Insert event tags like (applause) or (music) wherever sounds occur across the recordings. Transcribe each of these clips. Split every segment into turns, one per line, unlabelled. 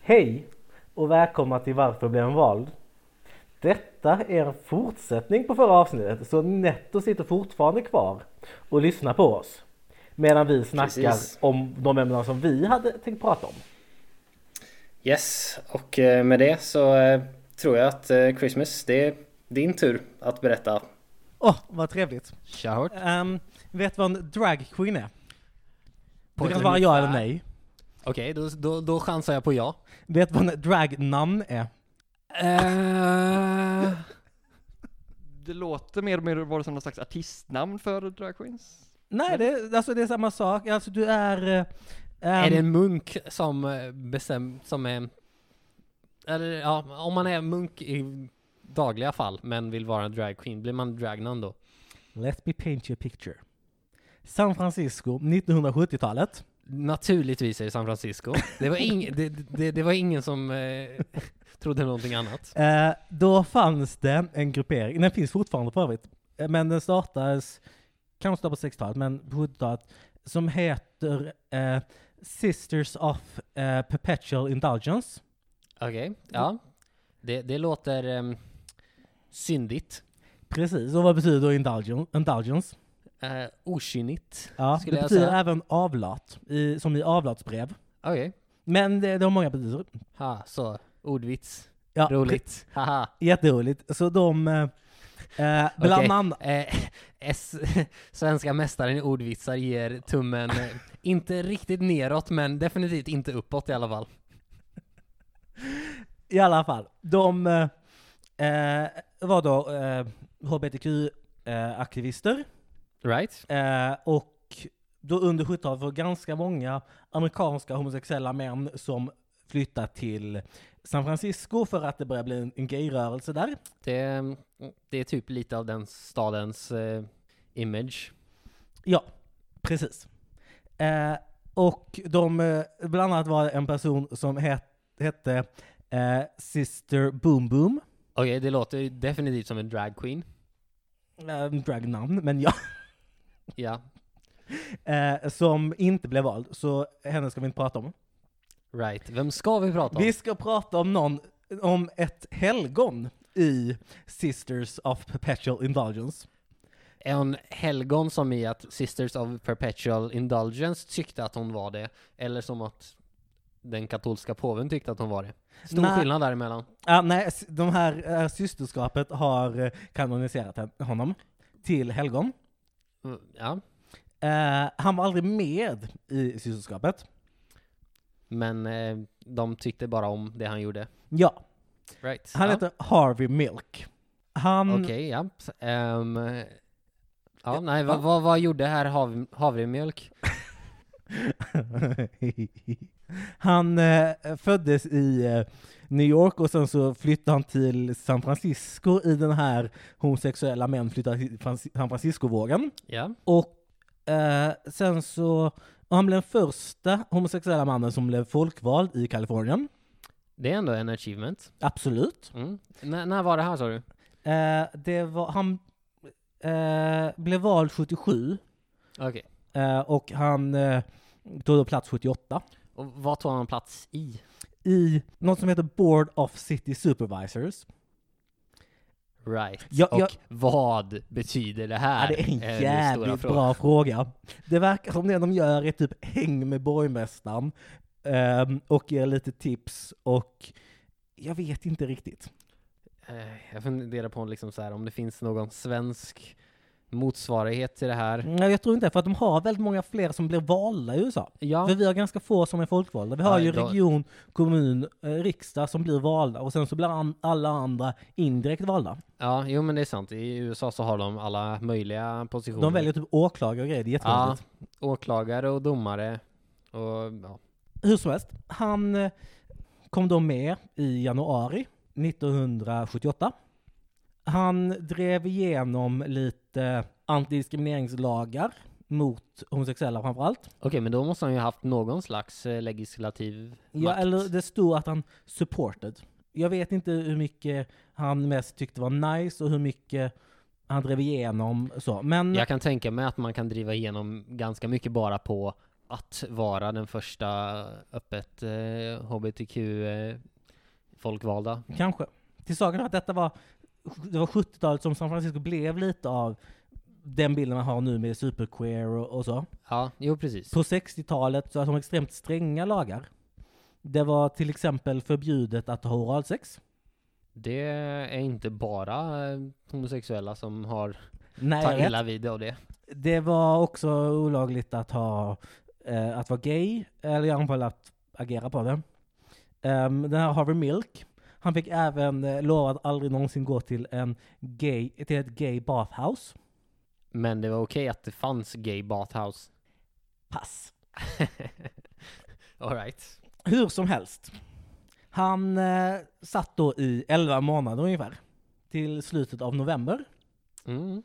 Hej och välkomna till Varför blev man vald? Detta är en fortsättning på förra avsnittet så Netto sitter fortfarande kvar och lyssnar på oss. Medan vi snackar
Precis.
om de ämnen som vi hade tänkt prata om.
Yes, och eh, med det så eh, tror jag att eh, Christmas, det är din tur att berätta.
Åh, vad trevligt.
Tja hört.
Um, vet du vad en dragqueen är?
På
du kan
ett
svara ja eller
ungefär.
nej.
Okej, då, då, då chansar jag på ja.
Vet du vad en dragnamn är?
Det låter mer och mer vara som någon slags artistnamn för drag queens.
Nej, det, alltså, det är samma sak. Alltså du är... eh,
är
ehm,
det en munk som eh, bestäm, som är... Eller ja, om man är munk i dagliga fall men vill vara en drag queen, blir man dragnan då?
Let me paint you a picture. San Francisco, 1970-talet.
Naturligtvis är det San Francisco. Det var, ing, det, det, det var ingen som eh, (laughs) trodde någonting annat.
Eh, då fanns det en gruppering, den finns fortfarande för övrigt, eh, men den startades, kanske startade på 60-talet, men på 70-talet, som heter eh, Sisters of eh, Perpetual Indulgence.
Okej, ja. Det, det låter um, syndigt.
Precis, och vad betyder då indulgen- indulgence?
Uh, okynnigt,
Ja,
skulle
det
jag
betyder
säga.
även avlat, i, som i avlatsbrev.
Okej,
Men det, det har många betydelser.
ha, så. Ordvits.
Ja,
Roligt. Haha.
pre- Jätteroligt. Så de, eh, eh, bland
Okej,
annat,
eh, (laughs) S, svenska mästaren i ordvitsar ger tummen, eh, inte riktigt neråt men definitivt inte uppåt i alla fall.
I alla fall, de eh, eh, var då eh, hbtq-aktivister
Right?
eh, och då under 70-talet var det ganska många amerikanska homosexuella män som flyttade till San Francisco för att det började bli en, en gayrörelse där.
Det, det är typ lite av den stadens eh, image.
Ja, precis. Eh, och de, eh, bland annat var det en person som het, hette eh, Sister Boom Boom,
Okej, det låter ju definitivt som en drag queen.
eh, dragnamn, men ja.
Ja,
eh, som inte blev vald, så henne ska vi inte prata om.
right. Vem ska vi prata om?
Vi ska prata om någon, om ett helgon i Sisters of Perpetual Indulgence.
En helgon som i att Sisters of Perpetual Indulgence tyckte att hon var det, eller som att den katolska påven tyckte att hon var det. Stor
Nej.
skillnad däremellan.
Ah, nej, s- de här eh, systerskapet har eh, kanoniserat hen- honom till helgon.
Mm, Ja.
Eh, han var aldrig med i systerskapet.
Men eh, de tyckte bara om det han gjorde.
Ja,
Right.
han
ja.
heter mm. Harvey Milk. Han,
Okej, ja. Ehm, ja, nej, vad, vad, vad gjorde här hav, havremjölk?
(laughs) han eh, föddes i eh, New York och sen så flyttade han till San Francisco i den här homosexuella män flyttar till Frans- San Francisco-vågen.
Ja.
Och eh, sen så, och han blev den första homosexuella mannen som blev folkvald i Kalifornien.
Det är ändå en achievement.
Absolut.
Mm. N- när var det här sa du?
Eh, det var, han eh, blev vald 77
Okej.
eh, och han eh, tog då plats 78
Och vad tog han plats i?
i något som heter Board of City Supervisors.
Right.
Ja,
Och
ja.
vad betyder det
Ja,
här?
det är en
Eh, stora
jävligt
frågan.
bra fråga. Det verkar som det de gör är typ häng med borgmästaren ehm, och ger lite tips och jag vet inte riktigt.
Eh, Jag funderar på liksom så här, om det finns någon svensk motsvarighet till det här.
Nej, jag tror inte för att de har väldigt många fler som blir valda i USA.
Ja,
För vi har ganska få som är folkvalda. Vi har
Ja,
ju
då-
region, kommun, eh, riksdag som blir valda och sen så blir an- alla andra indirekt valda.
ja, jo men det är sant. I USA så har de alla möjliga positioner.
De väljer typ åklagare och grejer, det är
Oh. Ja,
jättekonstigt.
åklagare och domare. Och, ja.
Hur som helst, han eh, kom då med i januari 1978. Han drev igenom lite antidiskrimineringslagar mot homosexuella framförallt.
Okej, men då måste han ju haft någon slags eh, legislativ
Ja,
makt.
eller det stod att han supported. Jag vet inte hur mycket han mest tyckte var nice och hur mycket han drev igenom så. Men
Jag kan tänka mig att man kan driva igenom ganska mycket bara på att vara den första öppet eh, HBTQ-folkvalda.
Kanske. Till saken är att detta var, det var 70-talet som San Francisco blev lite av den bilden man har nu med superqueer och, och så.
Ja, jo precis.
På 60-talet så hade de extremt stränga lagar. Det var till exempel förbjudet att ha oralsex.
Det är inte bara eh, homosexuella som har
Nej, jag
tagit
vet.
illa vid av det.
Det var också olagligt att ha, eh, att vara gay, eller i alla fall att agera på det. Ehm, den här Harvey Milk, han fick även eh, lova att aldrig någonsin gå till en gay, till ett gay bathhouse.
Men det var okej att det fanns gay bathhouse. (laughs)
Pass.
Alright.
Hur som helst. Han eh, satt då i 11 månader ungefär, till slutet av november.
Mm.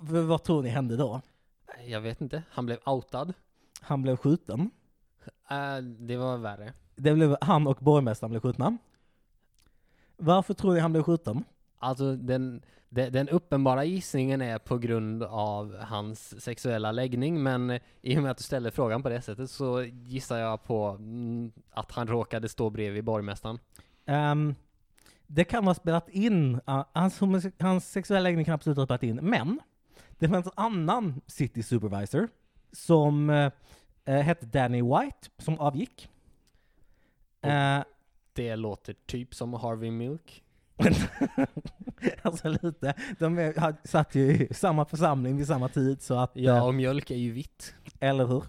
V- vad tror ni hände då?
Jag vet inte, han blev outad.
Han blev skjuten.
Eh, det var värre.
Det blev, han och borgmästaren blev skjutna. Varför tror ni han blev skjuten?
Alltså den, de, den uppenbara gissningen är på grund av hans sexuella läggning, men i och med att du ställer frågan på det sättet så gissar jag på mm, att han råkade stå bredvid borgmästaren.
Ehm, det kan vara spelat in, ah, hans, homose- hans sexuella läggning kan absolut ha spelat in, men det fanns en annan city supervisor som eh, eh, hette Danny White, som avgick. Eh, (laughs)
Det låter typ som Harvey Milk.
alltså lite, de är, har- satt ju i samma församling vid samma tid så att,
Ja,
eh,
och mjölk är ju vitt.
eller hur?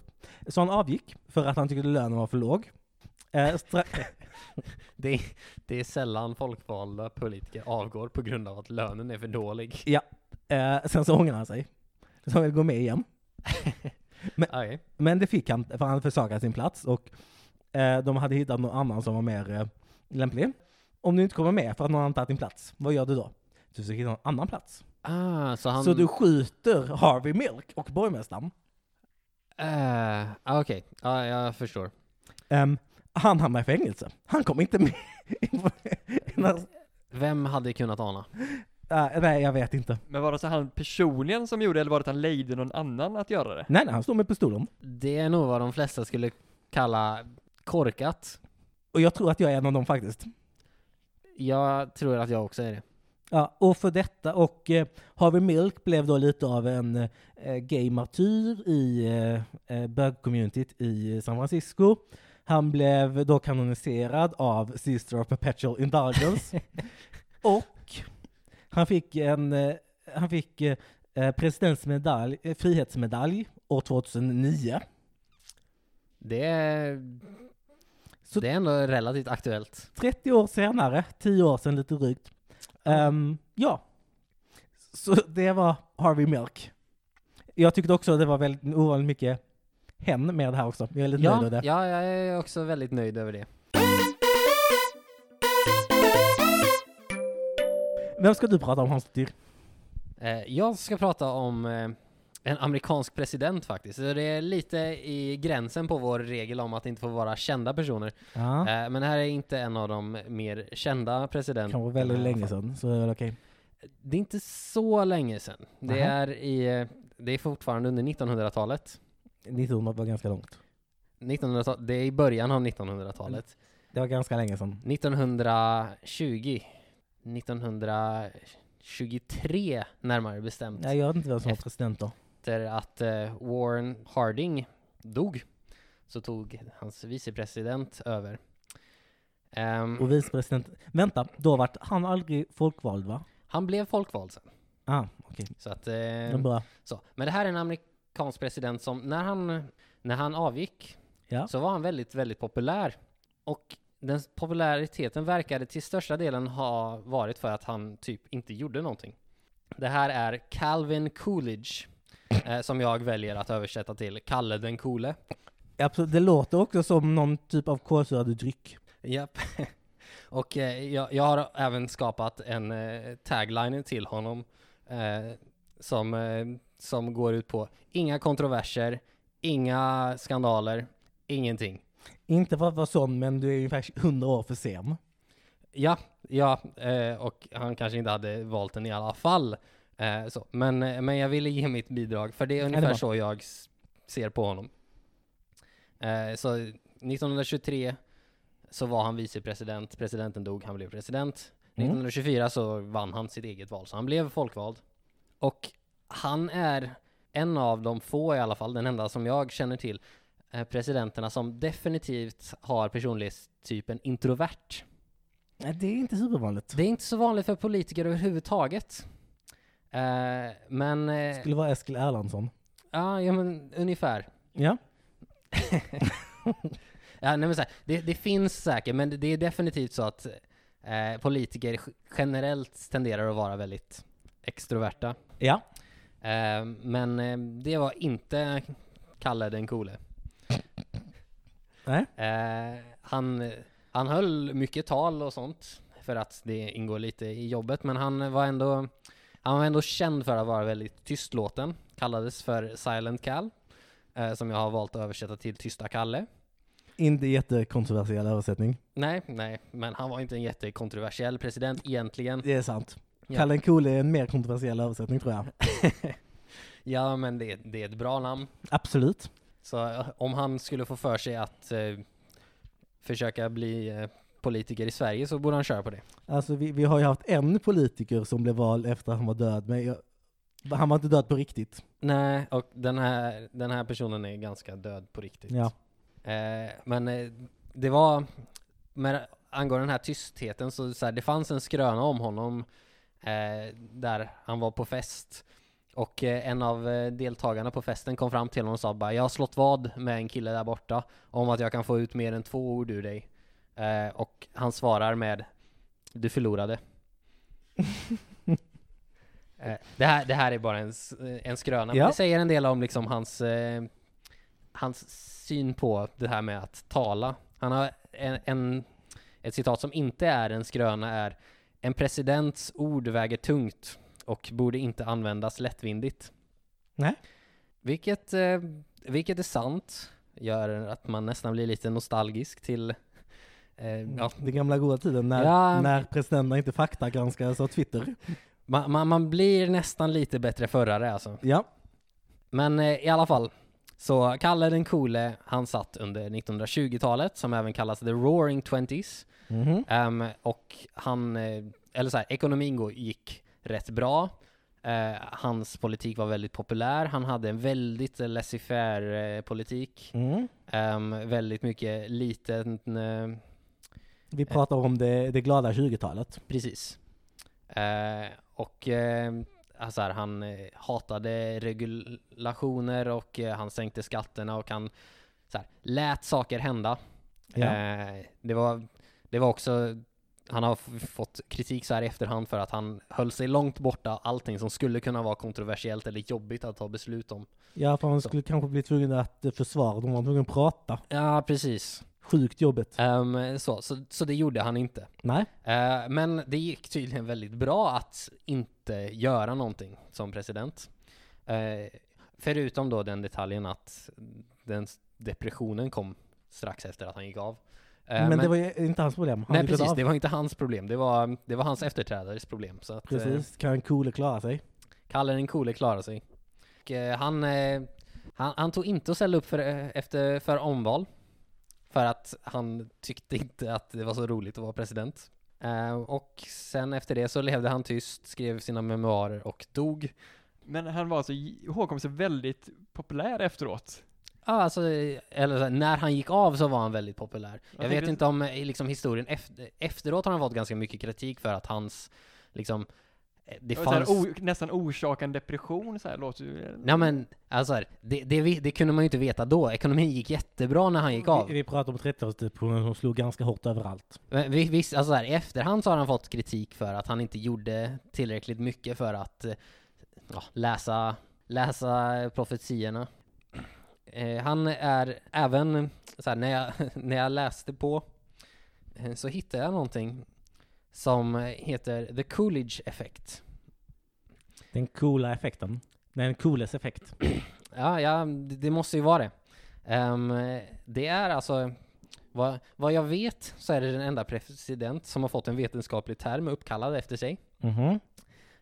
Så han avgick för att han tyckte lönen var för låg. Eh, stra-
Det är, det är sällan folkvalda politiker avgår på grund av att lönen är för dålig.
Eh, sen så ångrar han sig. Så han vill gå med igen.
Okej.
Men det fick han, för han försakade sin plats och eh, de hade hittat någon annan som var mer eh, lämplig. Om du inte kommer med för att någon annan tagit din plats, vad gör du då? Du försöker hitta någon annan plats.
Ah, så han...
Så du skjuter Harvey Milk och borgmästaren.
Eh, ah, Okej, ah, jag förstår.
Ehm, han hamnar i fängelse. Han kom inte med. (laughs)
Vem hade kunnat ana?
Eh, nej, jag vet inte.
Men var det så han personligen som gjorde det, eller var det att han lejde någon annan att göra det?
Nej, nej, han står med pistolen.
Det är nog vad de flesta skulle kalla korkat.
Och jag tror att jag är en av dem faktiskt.
Jag tror att jag också är det.
Ja, och för detta, och eh, Harvey Milk blev då lite av en eh, gay-martyr i eh, eh, bög-communityt i San Francisco. Han blev då kanoniserad av Sister of Perpetual Indulgence. och han fick en, eh, han fick eh, eh, presidentsmedalj, eh, frihetsmedalj år 2009.
Det är,
Så-
det är ändå relativt aktuellt.
30 år senare, 10 år sedan lite drygt. Ehm, ja. Så det var Harvey Milk. Jag tyckte också att det var väldigt ovanligt mycket hen med det här också. Jag är lite nöjd
Ja,
med det.
ja, jag är också väldigt nöjd över det.
Vem ska du prata om Hans Dyr?
Eh, Jag ska prata om eh, en amerikansk president faktiskt. Så Det är lite i gränsen på vår regel om att inte få vara kända personer.
Ja.
Eh, Men det här är inte en av de mer kända
Det
presidenterna.
kan vara väldigt länge sedan, så det är väl okej.
Det är inte så länge sedan. Det
Nähä.
är, i, eh, det är fortfarande under 1900-talet.
1900 var ganska långt.
1900-talet, det är i början av 1900-talet.
Det var ganska länge sedan.
1920, 1923 närmare bestämt,
Nej, jag vet inte vem som var
Efter-
president då.
efter att eh, Warren Harding dog, så tog hans vicepresident över. Ehm,
Och vicepresident. Vänta, då vart han aldrig folkvald va?
han blev folkvald sen.
Ah, okej.
Så att,
Det
eh,
är bra.
så. Men det här är en amerikansk president som, när han, när han avgick,
Ja.
så var han väldigt, väldigt populär. Och den populariteten verkade till största delen ha varit för att han typ inte gjorde någonting. Det här är Calvin Coolidge, eh, som jag väljer att översätta till Kalle den coole.
Absolut, det låter också som någon typ av kolsyrad dryck.
Japp. (laughs) Och eh, jag, jag har även skapat en eh, tagline till honom eh, som, eh, som går ut på inga kontroverser, inga skandaler, ingenting.
Inte för att vara sån, men du är ju faktiskt 100 år för sen.
Ja, ja, eh, och han kanske inte hade valt den i alla fall. Eh, så. Men, eh, men jag ville ge mitt bidrag, för det är
det
ungefär
var-
så jag s- ser på honom. Eh, så 1923 så var han vicepresident, presidenten dog, han blev president.
Mm.
1924 så vann han sitt eget val, så han blev folkvald. Och han är en av de få i alla fall, den enda som jag känner till, eh, presidenterna som definitivt har personlighetstypen introvert.
Nej, det är inte supervanligt.
Det är inte så vanligt för politiker överhuvudtaget. Eh, men, eh,
Det skulle vara Eskil Erlandsson.
ja, ja, men ungefär.
Ja.
Ja, nej, men så här, det, det finns säkert, men det, det är definitivt så att eh, politiker g- generellt tenderar att vara väldigt extroverta.
Ja.
Eh, men eh, det var inte Kalle den coole.
Nej.
Eh, han, han höll mycket tal och sånt för att det ingår lite i jobbet, men han var ändå, han var ändå känd för att vara väldigt tystlåten. Kallades för Silent Cal, eh, som jag har valt att översätta till Tysta Kalle.
Inte jättekontroversiell översättning.
Nej, nej, men han var inte en jättekontroversiell president egentligen.
Det är sant.
Ja.
Kalle den Coole är en mer kontroversiell översättning tror jag.
Ja, men det, det är ett bra namn.
Absolut.
Så eh, om han skulle få för sig att eh, försöka bli eh, politiker i Sverige så borde han köra på det.
Alltså vi, vi har ju haft en politiker som blev vald efter att han var död, men jag, han var inte död på riktigt.
Nej, och den här, den här personen är ganska död på riktigt.
Ja.
Eh, men eh, det var, med, angående den här tystheten, så, så här, det fanns en skröna om honom eh, där han var på fest. Och eh, en av eh, deltagarna på festen kom fram till honom och sa bara, jag har slått vad med en kille där borta om att jag kan få ut mer än två ord ur dig. Eh, och han svarar med, du förlorade. eh, det, här, det här är bara en, s- eh, en skröna, men
Ja.
det säger en del om liksom hans eh, hans syn på det här med att tala. Han har en, en, ett citat som inte är en skröna är En presidents ord väger tungt och borde inte användas lättvindigt.
Nej.
Vilket, eh, vilket är sant, gör att man nästan blir lite nostalgisk till eh, ja,
Den gamla goda tiden när,
Ja.
när presidenterna inte faktagranskades av Twitter.
man, man, man blir nästan lite bättre förare alltså.
Ja.
Men eh, i alla fall, så Kalle den coole, han satt under 1920-talet, som även kallas the roaring twenties.
Mhm.
Ehm, och han, eh, eller så här, ekonomin går, gick rätt bra. Eh, hans politik var väldigt populär. Han hade en väldigt eh, laissez-faire eh, politik.
Mm.
Ehm, väldigt mycket liten, eh,
Vi pratar om det, det glada 20-talet.
precis. Eh, och eh, alltså här, han eh, hatade regulationer och eh, han sänkte skatterna och han så här, lät saker hända.
Ja.
Eh, det, var, det var också, han har f- fått kritik så här i efterhand för att han höll sig långt borta allting som skulle kunna vara kontroversiellt eller jobbigt att ta beslut om.
ja, för han
så.
skulle kanske bli tvungen att eh, försvara, de var tvungna att prata.
Ja, precis.
Sjukt jobbigt.
Ehm, så, så, så det gjorde han inte.
Nej.
Eh, men det gick tydligen väldigt bra att inte göra någonting som president. Eh, förutom då den detaljen att den s- depressionen kom strax efter att han gick av. Eh,
men, det var ju inte hans problem. Han
Nej
lyckades
precis,
av-
det var inte hans problem. Det var, det var hans efterträdares problem. Så att Eh,
Precis, kan Coole klara sig?
Kalle den coole klarade sig. Och, eh, han, eh, han, han tog inte att ställa upp för, eh, efter, för omval. För att han tyckte inte att det var så roligt att vara president. Eh, och sen efter det så levde han tyst, skrev sina memoarer och dog.
Men han var alltså ihågkommen sig väldigt populär efteråt.
Ja, alltså, eh, eller så här, när han gick av så var han väldigt populär.
Jag
Jag vet
tänkte-
inte om eh, liksom, historien efter, efteråt har han fått ganska mycket kritik för att hans, liksom, eh, det
Det
fanns...
så här, o, nästan orsakande depression så här låter ju.
Nej men, alltså här, det, det, vi- det kunde man ju inte veta då. Ekonomin gick jättebra när han gick
Vi,
av.
vi pratar om 30-årsdepressionen som slog ganska hårt överallt.
Men vi, visst, alltså här, i efterhand så har han fått kritik för att han inte gjorde tillräckligt mycket för att eh, ja, läsa, läsa profetiorna. Eh, han är även, så här, när, jag, (laughs) när jag läste på eh, så hittade jag någonting som eh, heter The Coolidge Effect.
Den coola effekten. Nej, den cooles effekt.
Ja, ja det, det måste ju vara det. Ehm, det är alltså, vad, vad jag vet så är det den enda president som har fått en vetenskaplig term uppkallad efter sig.
Mhm.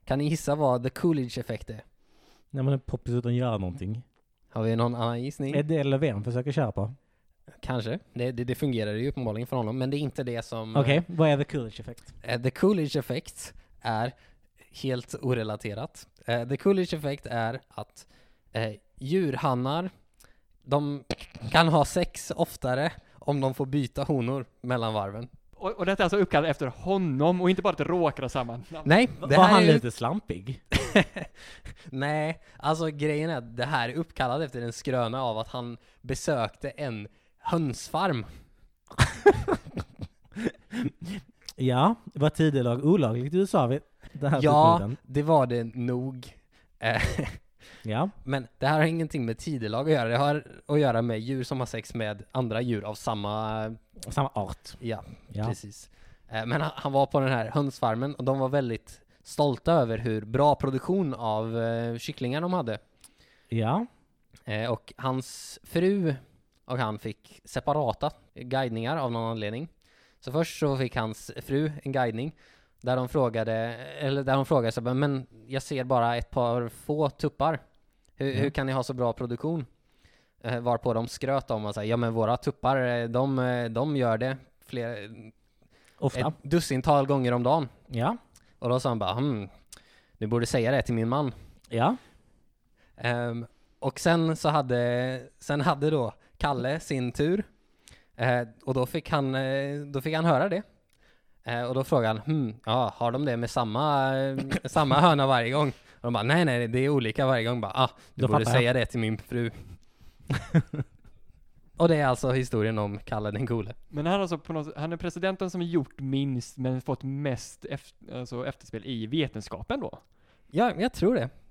Kan ni gissa vad the Coolidge-effekt är?
När man är poppis utan att göra någonting.
Har vi någon annan gissning?
Är det Löfven försöker köra på?
Kanske. Det, det, det fungerade ju uppenbarligen för honom, men det är inte det som...
Okej, vad är the coolidge effekt?
Eh, The Coolidge Effect är helt orelaterat. Eh, The Coolidge Effect är att eh, djurhannar, de kan ha sex oftare om de får byta honor mellan varven.
Och, och detta är alltså uppkallat efter honom och inte bara att det råkar ha samma namn.
Nej, det
Var
här
han
är ju-
lite slampig?
(laughs) Nej, alltså grejen är att det här är uppkallat efter en skröna av att han besökte en hönsfarm.
Ja, var tidigare olagligt i USA vid den här
Ja,
tidpunkten.
det var det nog. Eh,
Ja.
Men det här har ingenting med tidelag att göra. Det har att göra med djur som har sex med andra djur av samma...
Samma art.
Ja,
Ja.
precis. Eh, Men han- han var på den här hönsfarmen och de var väldigt stolta över hur bra produktion av eh, kycklingar de hade.
Ja.
Eh, Och hans fru och han fick separata guidningar av någon anledning. Så först så fick hans fru en guidning där de frågade, eller där hon frågade så här, men jag ser bara ett par få tuppar. Hur,
Ja.
hur kan ni ha så bra produktion? Eh, varpå de skröt om att säga, ja men våra tuppar, eh, de, eh, de gör det fler,
Ofta.
ett dussintal gånger om dagen.
Ja.
Och då sa han bara, hmm, du borde säga det till min man.
Ja.
Ehm, och sen så hade, sen hade då Kalle sin tur. Eh, och då fick, han, eh, då fick han höra det. Eh, och då frågade han, hmm, ja, har de det med samma, eh, samma höna varje gång? Och de bara, nej nej, det är olika varje gång. Bara, ah, du
Då
borde
fattar jag.
säga det till min (laughs) fru. och det är alltså historien om Kalle den gode.
Men han, är alltså på något, han är presidenten som gjort minst men fått mest eft- alltså efterspel i vetenskapen då.
Ja, jag tror det.